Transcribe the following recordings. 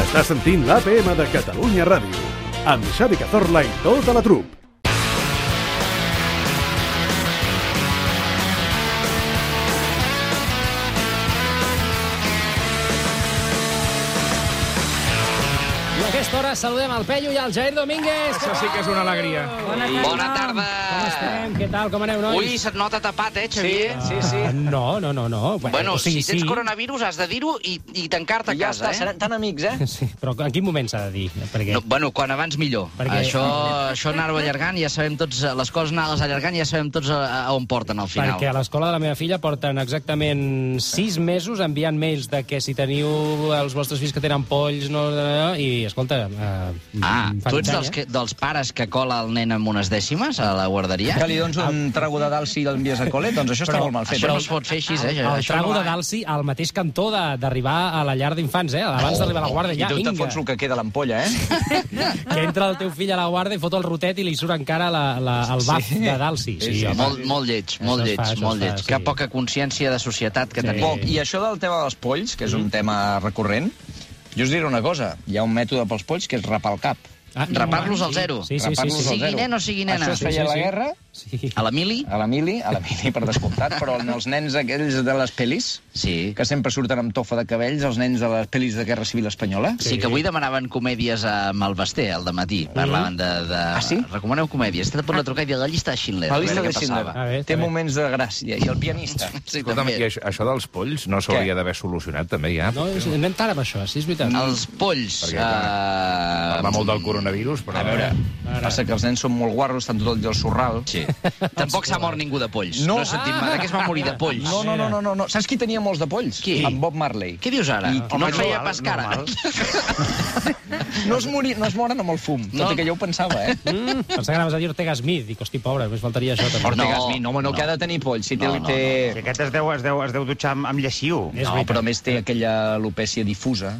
Estàs sentint l'APM de Catalunya Ràdio, amb Xavi Cazorla i tota la trup. I a aquesta hora saludem el Pello i el Jair Domínguez. Això sí que és una alegria. Bona Bona tarda. Ah. Com estem? Què tal? Com aneu, nois? Ui, se't nota tapat, eh, Xavier? Sí, sí. Ah, No, no, no, no. Bueno, o sigui, si tens sí, coronavirus has de dir-ho i, i tancar-te a Ja casa, està, eh? seran tan amics, eh? Sí, però en quin moment s'ha de dir? Perquè... No, bueno, quan abans millor. Perquè- Perquè... Això, això anar-ho allargant, ja sabem tots... eh, Les coses anar-les allargant, ja sabem tots a, a on porten al final. Perquè a l'escola de la meva filla porten exactament sis mesos enviant mails de que si teniu els vostres fills que tenen polls... No, no, no, I, escolta... Eh, Ah, em fa tu criteri, ets dels, eh? que, dels pares que cola el nen amb unes dècimes a la guarderia? Que li dones un trago de dalt si l'envies al col·le? Doncs això està molt mal fet. Això no es pot fer així, eh? Ah, El Això trago no de Dalsi al mateix cantó de- d'arribar a la llar d'infants, eh? Oh, Abans d'arribar a la guarda, I ja, tu te vinga. fots el que queda a l'ampolla, eh? Ah. Que entra el teu fill a la guarda i fot el rotet i li surt encara la, la, el baf sí. de Dalsi. Sí, home. Molt, molt lleig, molt es lleig, fa, això es molt fa, lleig. sí. Que poca consciència de societat que Sí. tenim. Poc. I això del tema dels polls, que és un Mm. tema recurrent, jo us diré una cosa. Hi ha un mètode pels polls que és rapar el cap. Ah, Rapar-los al zero. Sí, sí, sí. Rapar-los sí, al sí. Sigui zero. nen o sigui nena. Això es Sí, feia sí, a la sí. guerra, sí. A l'Emili? a la mili, a la mili, per descomptat, però en els nens aquells de les pel·lis, Sí. que sempre surten amb tofa de cabells, els nens de les pel·lis de Guerra Civil Espanyola, Sí, que avui demanaven comèdies amb el Basté, al matí. Parlaven de... de... Ah, sí? Recomaneu comèdies. T'he de posar a trucar i dir la llista de Schindler. la a llista veure de què Schindler. passava. A veure, Té a veure. moments de gràcia. I el pianista. Sí, Escolta'm, i també. això, això dels polls no s'hauria d'haver solucionat, també, ja? No, és- anem tard amb això, sí, és veritat. Els polls... Perquè, eh, Parla molt del coronavirus, però... A veure, passa que els nens són molt guarros, estan tot el dia al sorral. Sí. Tampoc s'ha mort ningú de polls. No. No, he sentit mai. De què es va morir de polls? No, no, no, no, no, no. Saps qui tenia molts de polls? Qui? En Bob Marley. Què dius ara? I- no et feia pas cara. No es, mori, no es moren amb el fum, no. No. tot i que jo ho pensava, eh? Mm, pensava que anaves a dir Ortega Smith. Dic, hosti, pobre, només faltaria això, també. No. Ortega Smith, no, home, no, no. que ha de tenir polls. Si té, No, no, té... Si aquest es deu, es deu, es deu dutxar amb, amb lleixiu. És No, veritat. però a més té aquella alopècia difusa,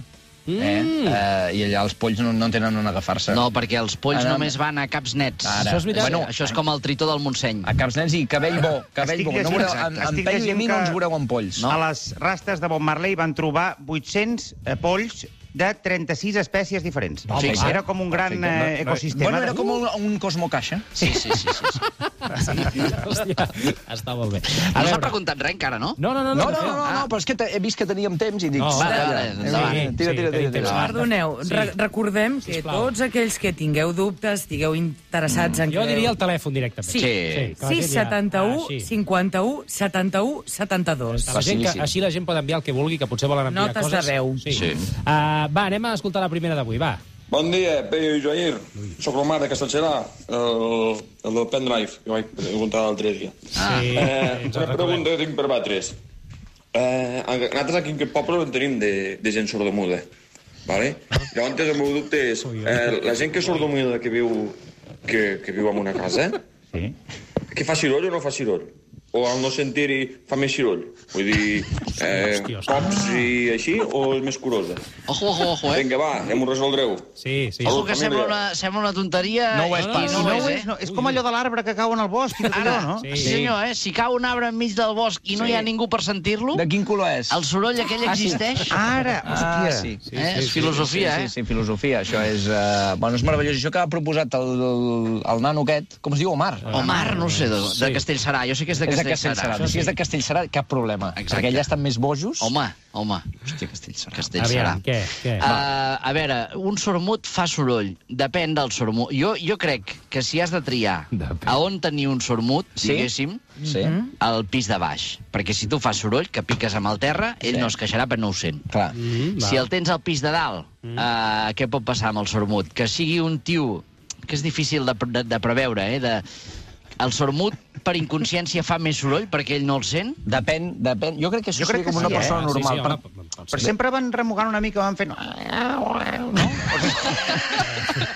mm. eh? eh? I allà els polls no, no tenen on agafar-se. No, perquè els polls Ara- només van a caps nets. Ara. Això és veritat. Bueno, això és com el tritó del Montseny. A caps nens i cabell bo, cabell Estic bo. No llegint, veureu, exacte. en, en Estic Pello i a mi llegint no que- ens veureu amb polls. No. A les rastes de Bob Marley van trobar 800 eh, polls de 36 espècies diferents. Home, Home, era com un gran perfecte. No, no. eh, ecosistema. Bueno, era com un, un cosmocaixa. Sí, sí, sí. sí, sí. Hòstia, està molt bé. No s'ha preguntat res encara, no? No, no, no, Ah, No, no, no, no, no però és que te- he vist que teníem temps i dic... No, "Calla, vale, eh, endavant. Tira, Sí, tira, sí, tira. tenim tira, temps. tira. Va. Perdoneu, Ah, Sí. sí. recordem que Sisplau. Mm. tots aquells que tingueu dubtes, estigueu interessats en... Jo que- diria el Ah, telèfon directament. Sí. Sí. que la gent ja- 671 així. 51 71 72. La gent que, Facilíssim. així la gent pot enviar el que vulgui, que potser volen enviar Notes coses. de veu. Sí. Sí. Uh, va, anem a escoltar la primera d'avui, va. Bon dia, Peyu i Joair. Soc l'Omar de Castellserà, el, el del pendrive, que vaig preguntar l'altre dia. Ah. Sí, Eh, ens una en recordem. pregunta que tinc per vosaltres. Eh, a- nosaltres aquí en aquest poble en tenim de, de gent sordomuda. Vale? Llavors, el meu dubte és, eh, la gent que és sordomuda que viu, que, que viu en una casa, Sí. que fa soroll o no fa soroll? O al no sentir-hi fa més soroll? Vull dir, eh, Hòstia, hòstia. cops i així, o és més curosa? Ojo, ojo, ojo, eh? Vinga, va, ja m'ho resoldreu. Sí, sí. Ojo, que sembla una, sembla una tonteria... No ho és i- pas. i No, No no, ho és, és, eh? no, és com allò de l'arbre que cau en el bosc i tot allò, no? sí. Sí, senyor, eh? Si cau un arbre enmig del bosc i no hi ha ningú per sentir-lo, De quin color és? el soroll aquell existeix. Ara, Ah, hòstia. sí. sí, eh? És filosofia, sí, eh? Sí, sí, filosofia. Això és... Uh, bueno, és meravellós. Això que ha proposat el, el, el nano aquest, com es diu, Omar? Omar, no ho sé, de, de Castellserà. Jo sé que és de Ah, és de Castellserà. Castellserà. Si és de Castellserà, cap problema. Exacte. Perquè allà estan més bojos. Home, home. Hòstia, Castellserà. Castellserà. Aviam, què, què? Uh, a veure, un sormut fa soroll. Depèn del sormut. Jo, jo crec que si has de triar Depèn. a on tenir un sormut, Sí? diguéssim, Sí, al pis de baix. Perquè si tu fas soroll, que piques amb el terra, ell Sí. no es queixarà perquè no ho sent. clar. Mm, va. Si el tens al pis de dalt, mm. eh, què pot passar amb el sormut? Que sigui un tio que és difícil de, pre- de, de preveure, eh? De... El sormut, per inconsciència, fa més soroll perquè ell no el sent? Depèn, depèn. Jo crec que això Jo crec seria que com una sí, eh? persona Sí, sí, normal. home, Per- pot Però ser. sempre van remugant una mica, van fent...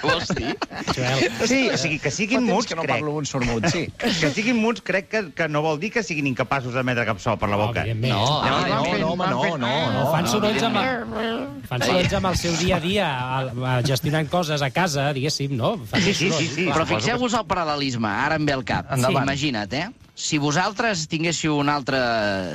Vols dir? Joel, Sí, o sigui, que Fa siguin temps muts, que no crec. parlo un sormut, sí. Que siguin muts, crec que, que no vol dir que siguin incapaços d'emetre cap so per la boca. evidentment. No, No, ah, no, no. no, home, no, no, no. fan sorolls amb... El, fan sorolls amb el seu dia a dia, al- a- gestionant coses a casa, diguéssim, no? Fan Sí, sí, sí, sí. Però fixeu-vos al paral·lelisme, ara em ve al cap. Endavant. Imagina't, eh? si vosaltres tinguéssiu un altre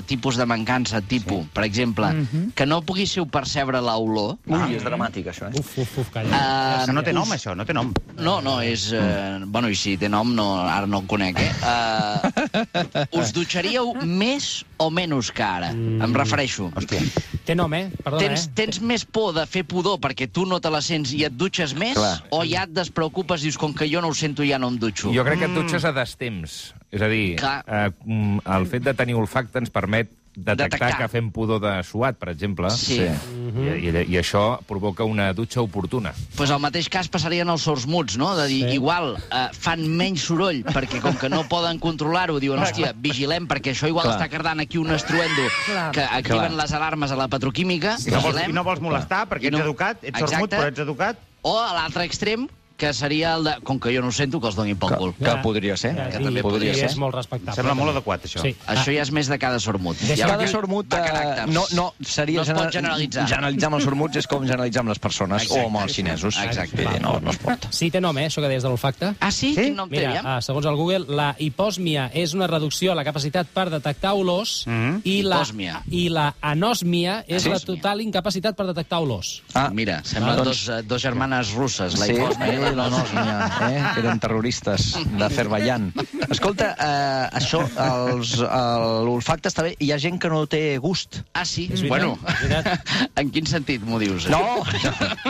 tipus de mancança, tipus, sí. per exemple, mm Mhm. -hmm. que no poguéssiu percebre l'olor... Ui, és dramàtic, això, eh? Uf, uf, uf, calla. Uh, Això no té nom, això, no té nom. No, no, és... Eh, bueno, i si té nom, no, ara no el conec, eh? Uh, us dutxaríeu més o menys que ara? Mm. Em refereixo. Hòstia. Té nom, eh? Perdona, Tens, eh? tens més por de fer pudor perquè tu no te la sents i et dutxes més? Clar. O ja et despreocupes i dius, com que jo no ho sento, ja no em dutxo? Jo crec que et dutxes a destemps. És a dir, Clar. eh, mm, el fet de tenir olfacte ens permet detectar, Detectar. que fem pudor de suat, per exemple. Sí. I, i, I això provoca una dutxa oportuna. pues el mateix cas passarien els sordsmuts, no? De dir, sí. igual eh, fan menys soroll perquè com que no poden controlar-ho, diuen, hòstia, vigilem perquè això igual Clar. està cardant aquí un estruendo Clar. que activen Clar. les alarmes a la petroquímica, I no vols, vigilem. i no vols molestar, I perquè no- ets educat, ets Exacte. sormut, però ets educat. O a l'altre extrem, que seria el de, com que jo no ho sento, que els donin pel cul. Que podria ser. Ja, eh? que Eh, i- també i podria ser. És molt respectable. eh, Sembla molt també. adequat, això. Sí. Això ja és més de cada sormut. Deixa- Ja va Cada de- sormut... va eh, caràcters. no, no, seria No es pot generalitzar. Generalitzar amb els sormuts és com generalitzar amb les persones Exacte. o amb els xinesos. Exacte. Vull dir, No, no es pot. Sí, té nom, eh, això que deies de l'olfacte. Ah, sí? Sí? Quin nom té, Mira, aviam? ah, segons el Google, la hipòsmia és una reducció a la capacitat per detectar olors Mhm. i, la, Hipòsmia. i la anòsmia és Anòsmia. la total incapacitat per detectar olors. Ah, mira, semblen doncs- doncs... dos, eh, dos germanes russes, la Sí, Hipòsnia i eh, la Nòsnia, eh? que eren terroristes d'Azerbaiyán. Escolta, eh, això, els- el- l'olfacte està bé, hi ha gent que no té gust. Ah, sí? veritat, Bueno, és veritat. en quin sentit m'ho dius? això? No,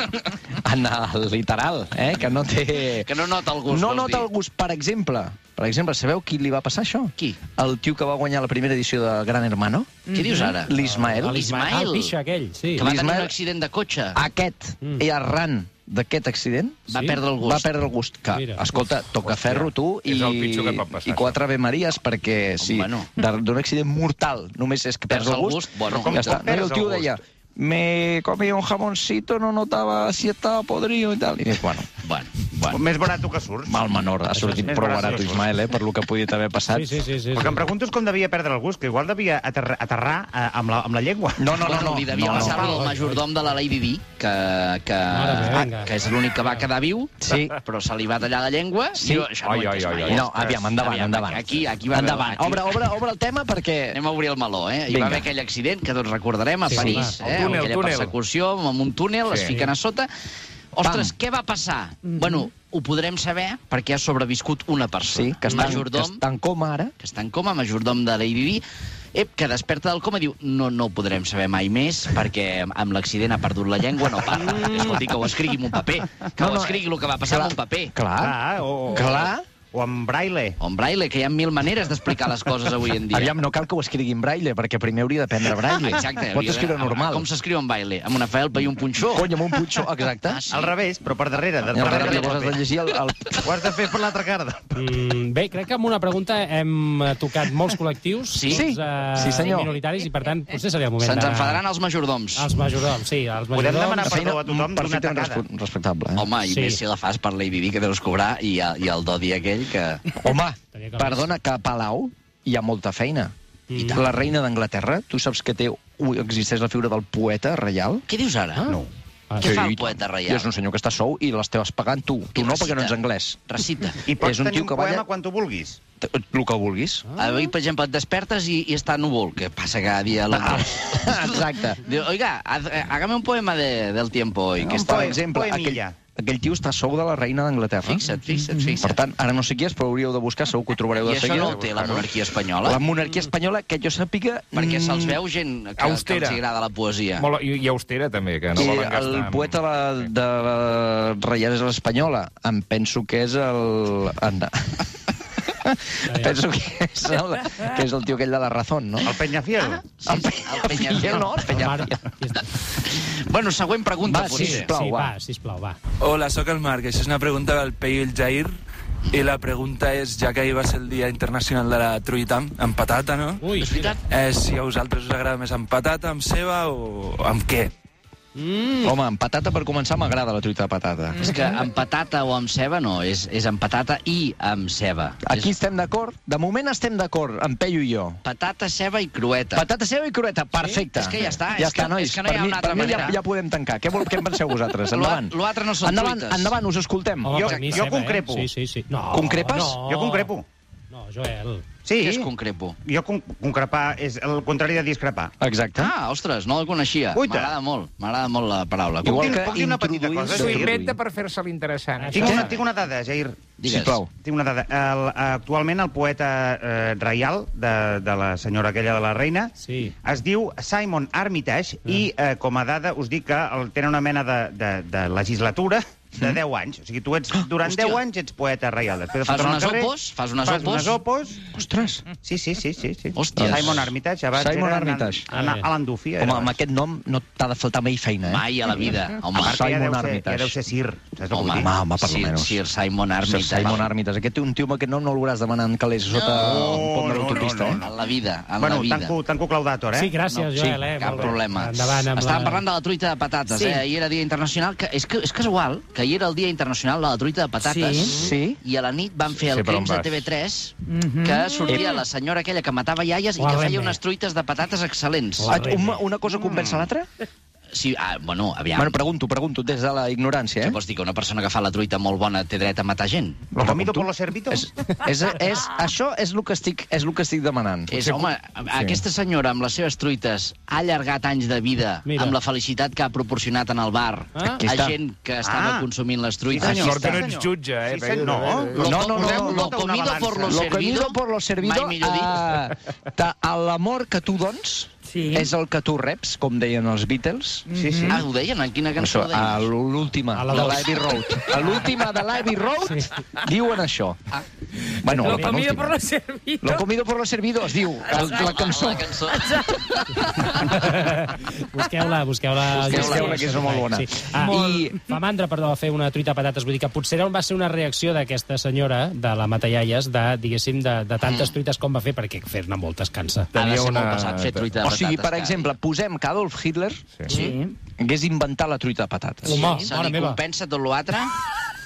en el literal, eh? que no té... Que no nota el gust, No vols nota dir? el gust, per exemple. Per exemple, sabeu qui li va passar això? Qui? El tio que va guanyar la primera edició de Gran Hermano. Què dius ara? L'Ismael. Ah, el L'Ismael, pixa aquell, sí. que va tenir L'Ismael- un accident de cotxe. Aquest, Mm. i arran d'aquest accident, Va Sí? perdre el va gust. perdre el gust. Que, Mira. escolta, toca ferro tu i, és el pitjor que et pot passar, i quatre Ave Maries perquè sí, Bueno. de- d'un accident mortal només és que perds el gust. bueno, com ja pot està. No, i el perds el tio gust? deia me comía un jamoncito, no notaba si estaba podrido i tal. I dic, bueno, Bueno, bueno. Més barat que surts. mal menor, ha sortit més prou barat barat que això. Ismael, eh, per lo que podia haver passat. Sí, sí, sí. sí, El que em sí. pregunto és com devia perdre el gust, que igual devia aterrar, aterrar eh, amb, la, amb la llengua. No, no, no, bueno, no. li devia no, passar no. al majordom de la Lady Di, que, que, ah, Mare meva. que és l'únic que va quedar viu, Sí. però se li va tallar la llengua. Sí. I jo, això no Ai, ho he ai, entès ai, mai. ai. No, aviam, endavant, endavant. Aquí, aquí va Haver, Endavant. aquí, Obre, obre, obre el tema perquè... Anem a obrir el meló, eh? Hi va Vinga. haver aquell accident que tots recordarem a Sí, París, sí, va. eh? El túnel, Aquella túnel. persecució amb un túnel, sí. Sí. es fiquen a sota. Ostres, Pam. què va passar? Mm -hmm. Bueno, ho podrem saber perquè ha sobreviscut una persona. Sí, que està, en- que majordom, està en coma ara. que està en coma, majordom de Lady Di, ep, que desperta del coma i diu no, no ho podrem saber mai més perquè amb l'accident ha perdut la llengua, no parla. Escolti, que ho escrigui en un paper, que Mm. No, no, no, eh, ho escrigui el que va passar en un paper. Clar. Clar, Ah, o, o, Ah. Clar. o amb braille. O en braille, que hi ha mil maneres d'explicar les coses avui en dia. Aviam, no cal que ho escrigui en braille, perquè primer hauria d'aprendre braille. Exacte. Pots escriure hauria de- normal. Com s'escriu en baile? Amb una felpa i un punxó? Cony, amb un punxó, exacte. Ah, sí? Al revés, però per darrere. De, I al darrere del llavors has de paper. llegir el... el... Ho has de fer per l'altra cara. Mm, bé, crec que amb una pregunta hem eh, tocat molts col·lectius, Sí. tots, Sí. eh, Sí, senyor. minoritaris, i per tant, potser seria el moment Se'ns d'anar- enfadaran els majordoms. Els majordoms, sí, els majordoms. Podem demanar feina perdó a tothom d'una perfectament tacada. respe- respectable. Eh? Home, i Sí. sí. més si la fas per Lady Di, que deus cobrar, i, i el Dodi aquell que... Home, Tenia que perdona, que a Palau hi ha molta feina. I I tant. la reina d'Anglaterra, tu saps que té, ui, existeix la figura del poeta reial? Què dius ara? Ah? No. Ah, Què sí. fa el poeta I és reial? un senyor que està sou i l'esteves pagant tu. Tu no, perquè no ets anglès. Recita. I pots És un tenir tio un que balla- poema quan tu vulguis. T- El que vulguis. Avui, per exemple, et despertes i, i està núvol, que passa cada dia a l'altre. Ah. Exacte. Diu, oiga, haz- eh, hágame un poema de, del tiempo hoy. Que Que està... està, per poe- exemple, aquell, poemilla. aquell tio està sou de la reina d'Anglaterra. Mm-hmm. Fixa't, fixa't, fixa't. Per tant, ara no sé qui és, però hauríeu de buscar, segur que ho trobareu I de això seguida. no ho té la monarquia espanyola? La monarquia espanyola, que jo sàpiga... Perquè mm, se'ls veu gent que, que Austera. els agrada la poesia. Molt, i, I austera, també, que no I volen gastar... Ah. el en- poeta la, de la Reialesa Espanyola, em penso que és el... En... penso que és, el, que és el tio aquell de la Razón, no? El Penyafiel. Sí, sí, el Peñafiel. no, el Peña. Mar... Ja està. Bueno, següent pregunta, Va, potser. sisplau, sí, va. va, sisplau, va. Hola, sóc el Marc. Això és una pregunta del Peyu i el Jair. I la pregunta és, ja que ahir va ser el Dia Internacional de la Truita, amb patata, no? Ui, És veritat? Eh, si a vosaltres us agrada més amb patata, amb ceba o amb què? Home, amb patata per començar m'agrada la truita de patata. És que amb patata o amb ceba no, és, és amb patata i amb ceba. Aquí estem d'acord? De moment estem d'acord, en Peyu i jo. És patata, ceba i crueta. Patata seva i crueta, perfecte. És que ja està, ja és que- està, nois. és que no hi ha per mi, una altra per mi manera. Ja, ja podem tancar. Què, vol, què en penseu vosaltres? Endavant. Lo- l'altre no són endavant, truites. Endavant, us escoltem. Home, eh, Jo- per mi jo ceba, concrepo. Eh? Sí, sí, sí. No, Concrepes? No. Jo concrepo. No, Joel. Sí. Què és concrepo? Jo con concrepar és el contrari de discrepar. Exacte. Ah, ostres, no el coneixia. Guaita. M'agrada molt, m'agrada molt la paraula. Puc Igual dir- que puc dir una petita introduir- cosa? S'ho Sí. inventa per fer-se l'interessant. Tinc una, tinc una dada, Jair. Digues. Sisplau. Tinc una dada. El, actualment el poeta eh, reial de, de la senyora aquella de la reina Sí. es diu Simon Armitage i Mm. eh, com a dada us dic que el, tenen una mena de, de, de legislatura de 10 anys. O sigui, tu ets, durant Mm. Ah, hòstia. 10 anys ets poeta reial. Després Fas surts al unes carrer, opos, fas unes fas opos. unes opos. Ostres, Sí, sí, sí. sí, sí. Hòsties. Eh. Simon Armitage. Abans Simon era Armitage. An, An, Alan Duffy. era home, amb abans. aquest nom no t'ha de faltar mai feina, eh? Mai a la vida, home. A part que ja Simon deu ser, ja Armitage. deu ser Sir. Saps el que Home, vull dir? home, home, per Sir, almenys. Sir Simon Sir Armitage. Simon Armitage. Aquest un tio amb aquest nom no el veuràs demanant calés sota un pont de l'autopista, eh? En la vida, en Bueno, la vida. tanco, tanco Claudator, eh? Sí, gràcies, No, Joel, eh? Cap molt bé. problema. Endavant amb Estàvem la... parlant de la truita de patates, Sí. eh? Ahir era Dia Internacional, que és, que és casual que ahir era el Dia Internacional de la truita de patates, Sí. Sí. i a la nit van fer el Sé sí, per on Crims de vas. TV3, Mhm. que sortia la senyora aquella que matava iaies i La que feia Remme. unes truites de patates excel·lents. La Ah, Una, una cosa compensa l'altra? Sí, ah, bueno, Mm. aviam. Bueno, pregunto, pregunto, des de la ignorància, Què eh? vols dir que una persona que fa la truita molt bona té dret a matar gent? Lo comido por lo servido. És, és, és, això és el que estic, és el que estic demanant. És, home, sí. aquesta senyora amb les seves truites ha allargat anys de vida Mira. Mira. amb la felicitat que ha proporcionat en el bar Ah. ah. Aquí a està. gent que estava Ah. ah. consumint les Sí, truites. senyor. Aquí Sort que està. no ets jutge, eh? Sí, senyor. Lo, No, No, no, posem- no, lo tota una comido balança. por lo Lo comido servido, por lo servido, mai millor dit. eh, ta- a l'amor que tu dones Sí. és el que tu reps, com deien els Beatles. Sí, sí. Ah, ho deien? En quina Això, cançó ho a deien? l'ú- l'última A la de dos. l'Abbey Road. A l'última de l'Abbey Road diuen això. Ah. Bueno, Lo la comido penúltima. por lo servido. Lo comido por lo servido es diu la, la cançó. Ah, La cançó. Busqueu-la, busqueu-la. Busqueu-la, que és molt bona. Sí. Ah, I fa mandra, perdó, fer una truita de patates. Vull dir que potser va ser una reacció d'aquesta senyora, de la Matallaies, de, diguéssim, de, de Mm. tantes truites com va fer, perquè fer-ne moltes cansa. Ha de Tenia ser una- molt pesat fer truita de O sigui, patates, per cara. exemple, posem que Adolf Hitler Sí. hagués inventat la truita de patates. Home, Se mare li meva. compensa tot l'altre?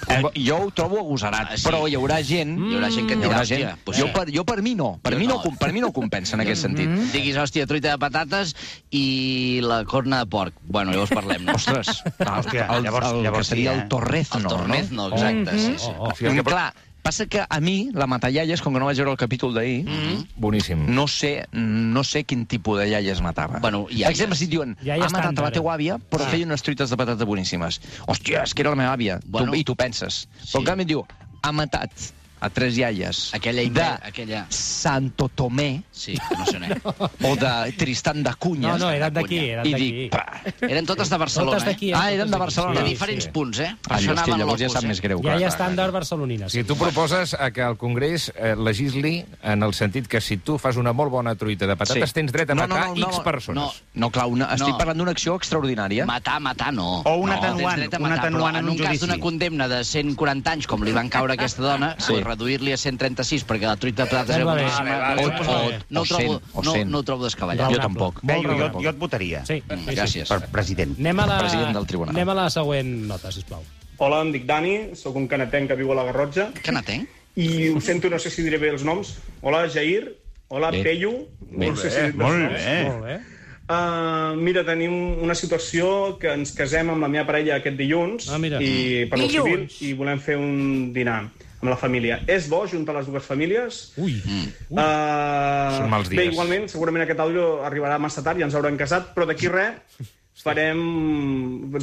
Eh, jo ho trobo agosarat, Ah, ah, sí. sí. però hi haurà gent... Hi haurà gent que et Hi haurà dirà, gent. hòstia, pues jo, sí. per, jo per mi no. Per, Jo mi no. no. Mm-hmm. com- per mi no compensa en aquest sentit. Diguis, hòstia, truita de patates i la corna de porc. Bueno, llavors parlem. No? Ostres, el, Hòstia, el, llavors- el, el que llavors seria sí, eh? el torrezno, El tornezno, no? exacte, sí, sí. Oh, oh. Sí, el que- Clar, passa que a mi, la matallaies, com que no vaig veure el capítol d'ahir, mm Mm-hmm. -hmm. Boníssim. no sé, no sé quin tipus de iaies matava. Bueno, iaies. Per exemple, si et diuen, Iaia ha matat a estàndard, la teua àvia, però feia unes truites de patata boníssimes. Hòstia, és que era la meva àvia. Bueno. Bueno, tu, I tu penses. Sí. Però en canvi et diu, ha matat a tres iaies Aquella, de ide- aquella... Santo Tomé Sí, no sé on era. o de Tristán de No, Cunha. no, eren d'aquí, Cunya. eren I d'aquí. dic, pa, Eren totes de Barcelona, Totes d'aquí, eh? eh? Ah, Totes eren de d'aquí, Barcelona. De sí, diferents sí. punts, eh? Per ah, això hòstia, anaven llavors ja locos, sap més eh? greu. Ja clar, hi clar, estàndard barcelonines. Si tu proposes eh, que el Congrés eh, legisli en el sentit que si tu fas una molt bona truita de patates Sí. sí. tens dret a No, no, matar no, no, X persones. clar. No, clar, una, estic No. parlant d'una acció extraordinària. Matar, matar, no. O no, un atenuant, tens dret a un matar, atenuant però en un un cas judici. d'una condemna de 140 anys, com li van caure a aquesta dona, sí. pues reduir-li a 136 perquè la truita de patates era Sembla bé. boníssima. Vale, vale, o, vale. no, ho O trobo, 100, o no, 100. no ho trobo descabellat. Raonable. Jo tampoc. Bé, jo, jo, raonable. jo et votaria. Sí. Mm, Gràcies. Per president. Anem a la... President del tribunal. Anem a la següent nota, sisplau. Hola, em dic Dani, sóc un canatenc que viu a la Garrotxa Que n'atenc? i ho sento, no sé si diré bé els noms. Hola, Jair. Hola, Bé. Peyu. No sé si he dit bé els Molt noms. bé. Molt bé. Uh, mira, tenim una situació que ens casem amb la meva parella aquest dilluns Ah, mira. i per lo civil Dilluns. i volem fer un dinar amb la família. És bo juntar les dues famílies? Ui, Mm. Uh, Són mals Bé, dies. igualment, segurament aquest àudio arribarà massa tard, ja ens haurem casat, però d'aquí res farem...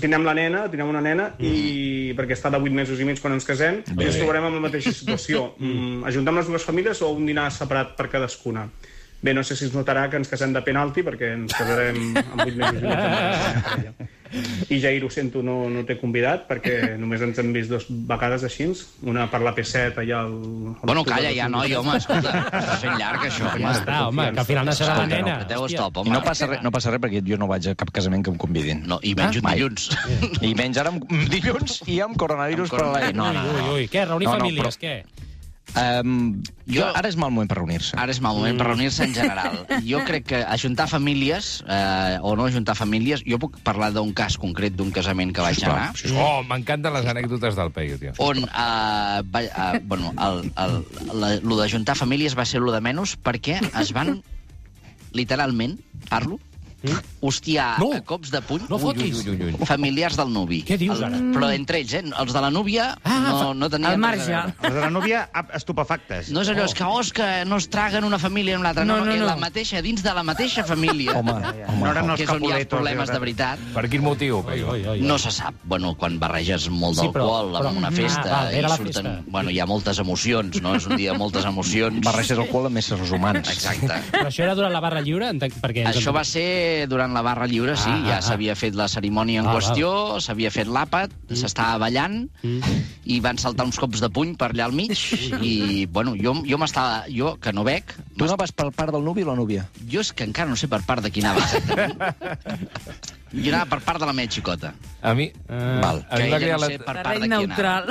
Tindrem la nena, tindrem una nena, i Mm. perquè està de 8 mesos i mig quan ens casem, i ens trobarem en la mateixa situació. Mm. Ajuntem les dues famílies o un dinar separat per cadascuna? Bé, no sé si es notarà que ens casem de penalti, perquè ens casarem amb 8 mesos i mig. amb la parella. I Jair, ho sento, no, no t'he convidat, perquè només ens hem vist dues vegades així, una per la P7 allà al... al Bueno, calla ja, noi, home, escolta, està fent llarg, això. ja està, home, que al final naixerà la Escolta, nena. no, que deu Hòstia. stop, I home. no passa, Ah, res, no passa res perquè jo no vaig a cap casament que em convidin. No, i menys un dilluns. I menys ara amb amb dilluns i amb coronavirus Amb per a la coronavirus. no, no, ui, no. ui, què? Reunir No, no, famílies, què? Um, jo, ara és mal moment per reunir-se. Ara és mal moment per reunir-se en general. Jo crec que ajuntar famílies, eh, o no ajuntar famílies, jo puc parlar d'un cas concret d'un casament que vaig anar, Oh, m'encanten les anècdotes del país, tio. on eh, va, eh, bueno, el, el, la, lo d'ajuntar famílies va ser lo de menys perquè es van, literalment, parlo, hostiar no. a cops de puny no fotis. familiars del nuvi. Què dius, El- ara? Però entre ells, eh? Els de la núvia no, no tenien... al res a marge. veure. Els de la núvia, ap- estupefactes. No és allò, és que, oh, és que no es traguen una família en una altra. No, No, no, no, que no. la mateixa, dins de la mateixa família, Home, No eren els que és on hi ha els capuletos, problemes era- de veritat, Per quin motiu, Peyu? Oi, oi, oi. no se sap. Bueno, quan barreges molt Sí, però- d'alcohol però- en una Ah, festa val, era i la surten... festa. Bueno, hi ha moltes emocions, no? És un dia de moltes emocions. barreges alcohol amb éssers humans. Exacte. Però això era durant la barra lliure? Entenc, perquè ens Això va entenem. ser durant la barra lliure, sí. Ah, ah, ja ah. s'havia fet la cerimònia en Ah, Mm. qüestió, s'havia fet l'àpat, s'estava ballant, i van saltar uns cops de puny per allà al mig, i, bueno, jo, jo m'estava... Jo, que no bec, Tu anaves per part del nuvi o la núvia? jo és que encara no sé per part de qui anava. exactament. Jo anava per part de la meva xicota. A mi... Val. Eh, A que mi m'ha ella creat no sé la- Per Per part de qui neutral.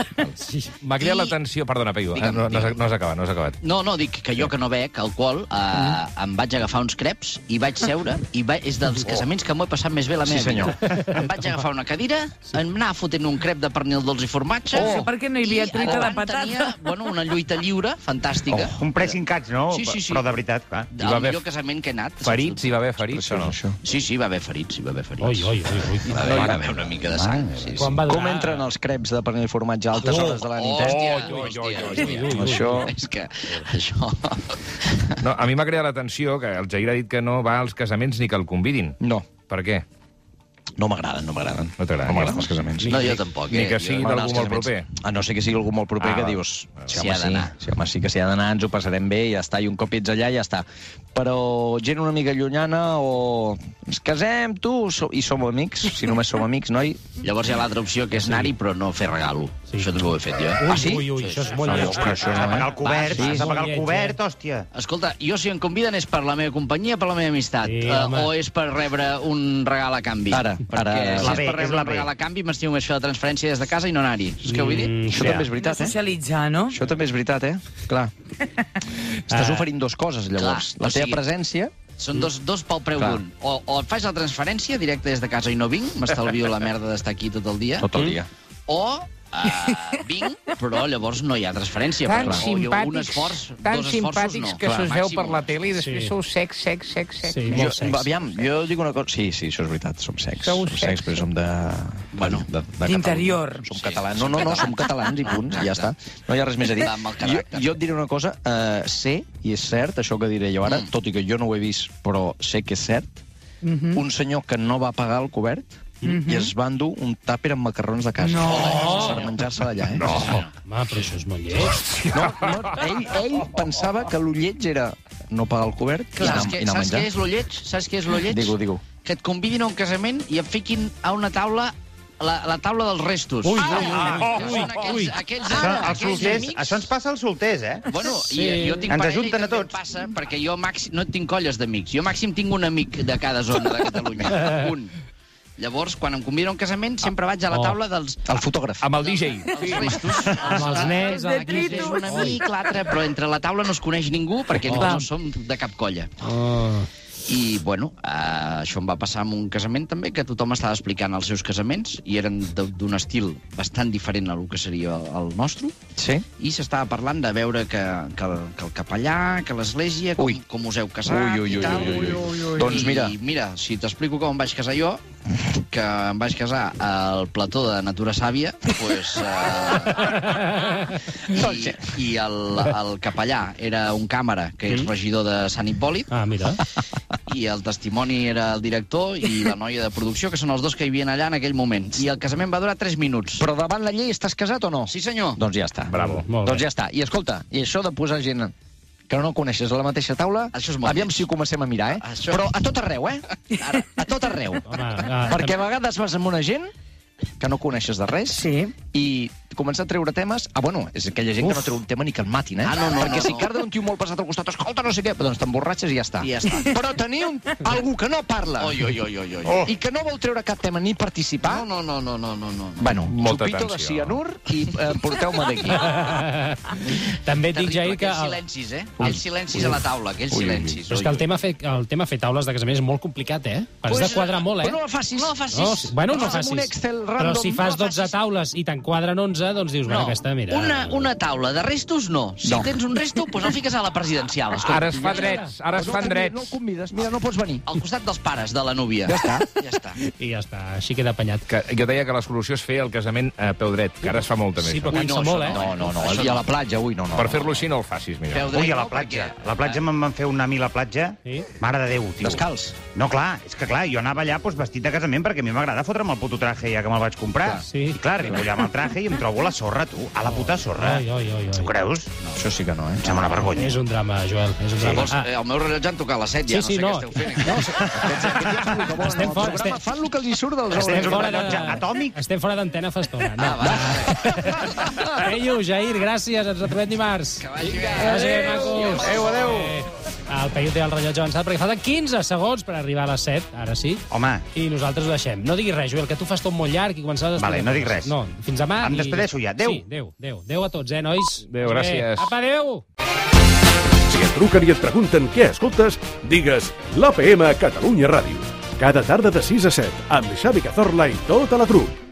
m'ha creat I- l'atenció... Perdona, Peyu, eh, Digue'm, no, no, s'ha- digue'm. no s'ha acabat, no s'ha acabat. No, no, dic que jo que no bec alcohol, eh, em vaig agafar uns creps i vaig seure, i va... és dels casaments que m'ho he passat més bé la meva sí, senyor. vida. Em vaig agafar una cadira, em anava fotent un crep de pernil dolç i formatge... Això perquè no hi havia i truita de davant patata. Tenia, bueno, una lluita lliure, fantàstica. Oh. Un pressing catch, no? Sí, sí, sí. Però de veritat, clar. El Hi va haver millor casament que he anat. saps? Ferits? Hi va haver ferits o no? Això. Sí, sí, va haver ferits, hi va haver ferits. Oi, oi, oi, oi. Hi va haver, hi va haver una mica de sang. Sí, sí. Quan va Com entren els creps de pernil i formatge a Oh, altes Oh, hores de la nit? eh? Hòstia, Oi, oi, hòstia, oi, oi, hòstia. oi, oi. Això... És que això... No, a mi m'ha creat l'atenció que el Jair ha dit que no va als casaments ni que el convidin. No, Per què? no m'agraden, no m'agraden. No t'agraden No aquests m'agraden els casaments. No, jo tampoc. Ni eh? que Jo- sigui M'agraden d'algú els molt casaments. proper. A no sé que sigui algú molt proper Ah, que va. dius... Sí, S'hi home, ha sí, d'anar. sí, home, sí que s'hi ha d'anar, ens ho passarem bé i ja està, i un cop ets allà ja està. Però gent una mica llunyana o... Ens casem, tu, so- i som amics, si només som amics, noi. Llavors hi ha l'altra opció, que és anar-hi, però no fer regalo. Sí. Això també ho he fet jo. eh? Ui, Ah, sí? ui, ui, això és molt No, eh? lleig. ostres, això Has de pagar el no, Va, cobert, sí. has de pagar Molt el lleig, eh? cobert, hòstia. Escolta, jo si em conviden és per la meva companyia, per la meva amistat, Sí, eh, home. o és per rebre un regal a canvi. Ara, Perquè ara. si La és B, per és rebre la un B. regal a canvi, m'estimo més fer la transferència des de casa i no anar-hi. És que vull dir? Mm. eh? Això també és veritat, eh? Socialitzar, no? Això també és veritat, eh? Clar. Ah. Estàs oferint dues coses, llavors. Clar, o la teva sigui- presència... Són dos, dos pel preu Clar. d'un. O, o et faig la transferència directe des de casa i no vinc, m'estalvio la merda d'estar aquí tot el dia, Tot el dia. o uh, vinc, però llavors no hi ha transferència. Tan perquè o hi ha un simpàtics, esforç, tan dos esforços simpàtics no. que se'ls veu per la màxim. tele i després Sí. sou secs, secs, secs, secs. Sí, Jo, molt sex. aviam, jo dic una cosa... Sí, sí, això és veritat, som secs. Sou som secs. secs, però som de... Bueno, de, de D'interior. Catalunya. Som catalans. No, no, no, som catalans i punt, ja està. No hi ha res més a dir. Va, amb el Jo, caràcter. jo et diré una cosa, eh, sé, i és cert, això que diré jo ara, Mm. tot i que jo no ho he vist, però sé que és cert, Mhm. un senyor que no va pagar el cobert i es va endur un tàper amb macarrons de casa. No! Per menjar-se d'allà, eh? No. Home, però això és molt lleig. No, no, ell, ell pensava que l'ulletge era no pagar el cobert i Clar, anar, saps què, i anar a saps menjar. què és lo lleig? Saps què és lo lleig? Digue-ho, digue-ho. Que et convidin a un casament i et fiquin a una taula la, la taula dels restos. Ah, Ui, ui, que ui, són aquells, ui, ui. aquells, Això, aquells, els solters, amics... això ens passa als solters, eh? Bueno, sí. Sí. i jo tinc Ens parella ajunten i a també em tots. passa, perquè jo màxim, no tinc colles d'amics. Jo màxim tinc un amic de cada zona de Catalunya. un. Llavors, quan em conviden a un casament, sempre vaig a la Oh. taula dels... El fotògraf. Amb el DJ. Els restos, Amb els nens, a la Aquí és un quinze... amic, l'altre, però entre la taula no es coneix ningú perquè oh. no som de cap colla. Oh. I, bueno, eh, això em va passar en un casament també, que tothom estava explicant els seus casaments i eren de- d'un estil bastant diferent a lo que seria el nostre Sí? i s'estava parlant de veure que, que, el, que el capellà, que l'església, com, Ui. com us heu casat Ui, ui, i ui, tal. ui, ui, ui, ui. Doncs mira. I mira, si t'explico com em vaig casar jo, que em vaig casar al plató de Natura Sàvia, doncs... Eh, I i el, el capellà era un càmera, que és regidor de Sant Hipòlit, Ah, mira. i el testimoni era el director i la noia de producció, que són els dos que hi havien allà en aquell moment. I el casament va durar 3 minuts. Però davant la llei estàs casat o no? Sí, senyor. Doncs ja està. Bravo. Molt Doncs bé. ja està. I escolta, i això de posar gent que no coneixes a la mateixa taula, Això és molt aviam lleig. si ho comencem a mirar, eh? Això- Però a tot arreu, eh? Ara, a tot arreu. Home, ah, Perquè a vegades vas amb una gent que no coneixes de res Sí. i comença a treure temes... Ah, bueno, és aquella gent que no treu un tema ni que el matin, eh? Ah, no, no, Perquè no, si no. carda un tio molt pesat al costat, escolta, no sé què, doncs t'emborratxes i ja està. I ja està. Però tenir un, algú que no parla Oi, oi, oi, oi, oi. i que no vol treure cap tema ni participar, No, no, no, no, no, no, no. Bueno, Molta xupito de atenció. cianur i eh, porteu-me d'aquí. També et dic, Terrible, Jair, que... aquells El... silencis, eh? Aquells silencis a la taula, aquells silencis. Però és que el tema, fer, el tema fer taules de casament és molt complicat, eh? Has de quadrar molt, eh? facis. No ho facis. bueno, no Fas amb facis. un Excel Però random, si no fas facis. 12 taules i te'n quadren 11, cosa, doncs dius, no. aquesta, mira... Una, una taula de restos, no. Si No. no. tens un resto, doncs el fiques a la presidencial. Escolta, Ara es fa drets, ara es No fan el convi- drets. No el convides, mira, no pots venir. Al costat dels pares de la núvia. Ja està. Ja està. I ja està, així queda apanyat. Que jo deia que la solució és fer el casament a peu dret, que ara es fa molt també. Sí, això. però cansa Ui, no, molt, això eh? No, no, no, Això i a no. la platja, ui, no, no. Per fer-lo així no el facis, mira. Ui, a la platja. A la platja me'n van fer un ami a la platja. Sí? Mare de Déu, tio. Descalç. No, clar, és que clar, jo anava allà doncs, vestit de casament perquè a mi m'agrada fotre'm el puto traje ja que me'l vaig comprar. Clar, sí. I clar, arribo allà amb el traje i em trobo la sorra, tu. A la puta sorra. Ai, ai, ai, ai. Ho creus? No. Això sí que no, eh? Em sembla una vergonya. És un drama, Joel, és un Sí, drama. Ah, vols, eh, el meu rellotge han tocat a les 7, ja Sí, sí, no sé no. què esteu fent. eh? No, Estem fora, estem... Fan el que els hi surt dels Estem ordres. fora, de... estem fora d'antena fa estona. No. Ah, Eio, Jair, gràcies, ens retrobem dimarts. Que vagi bé. Que vagi bé, macos. Adéu, adéu. El Paiut té el rellotge avançat perquè falten 15 segons per arribar a les 7, ara sí. Home. I nosaltres ho deixem. No diguis res, Joel, que tu fas tot molt llarg i començaràs a Vale, explicar no dic coses. res. No, fins demà. Em despedeixo ja. Adéu. Sí, adéu, adéu. Adéu a tots, eh, nois? Adéu, Bé, gràcies. Apa, adéu. Si et truquen i et pregunten què escoltes, digues l'APM Catalunya Ràdio. Cada tarda de 6 a 7, amb Xavi Cazorla i tota la trup.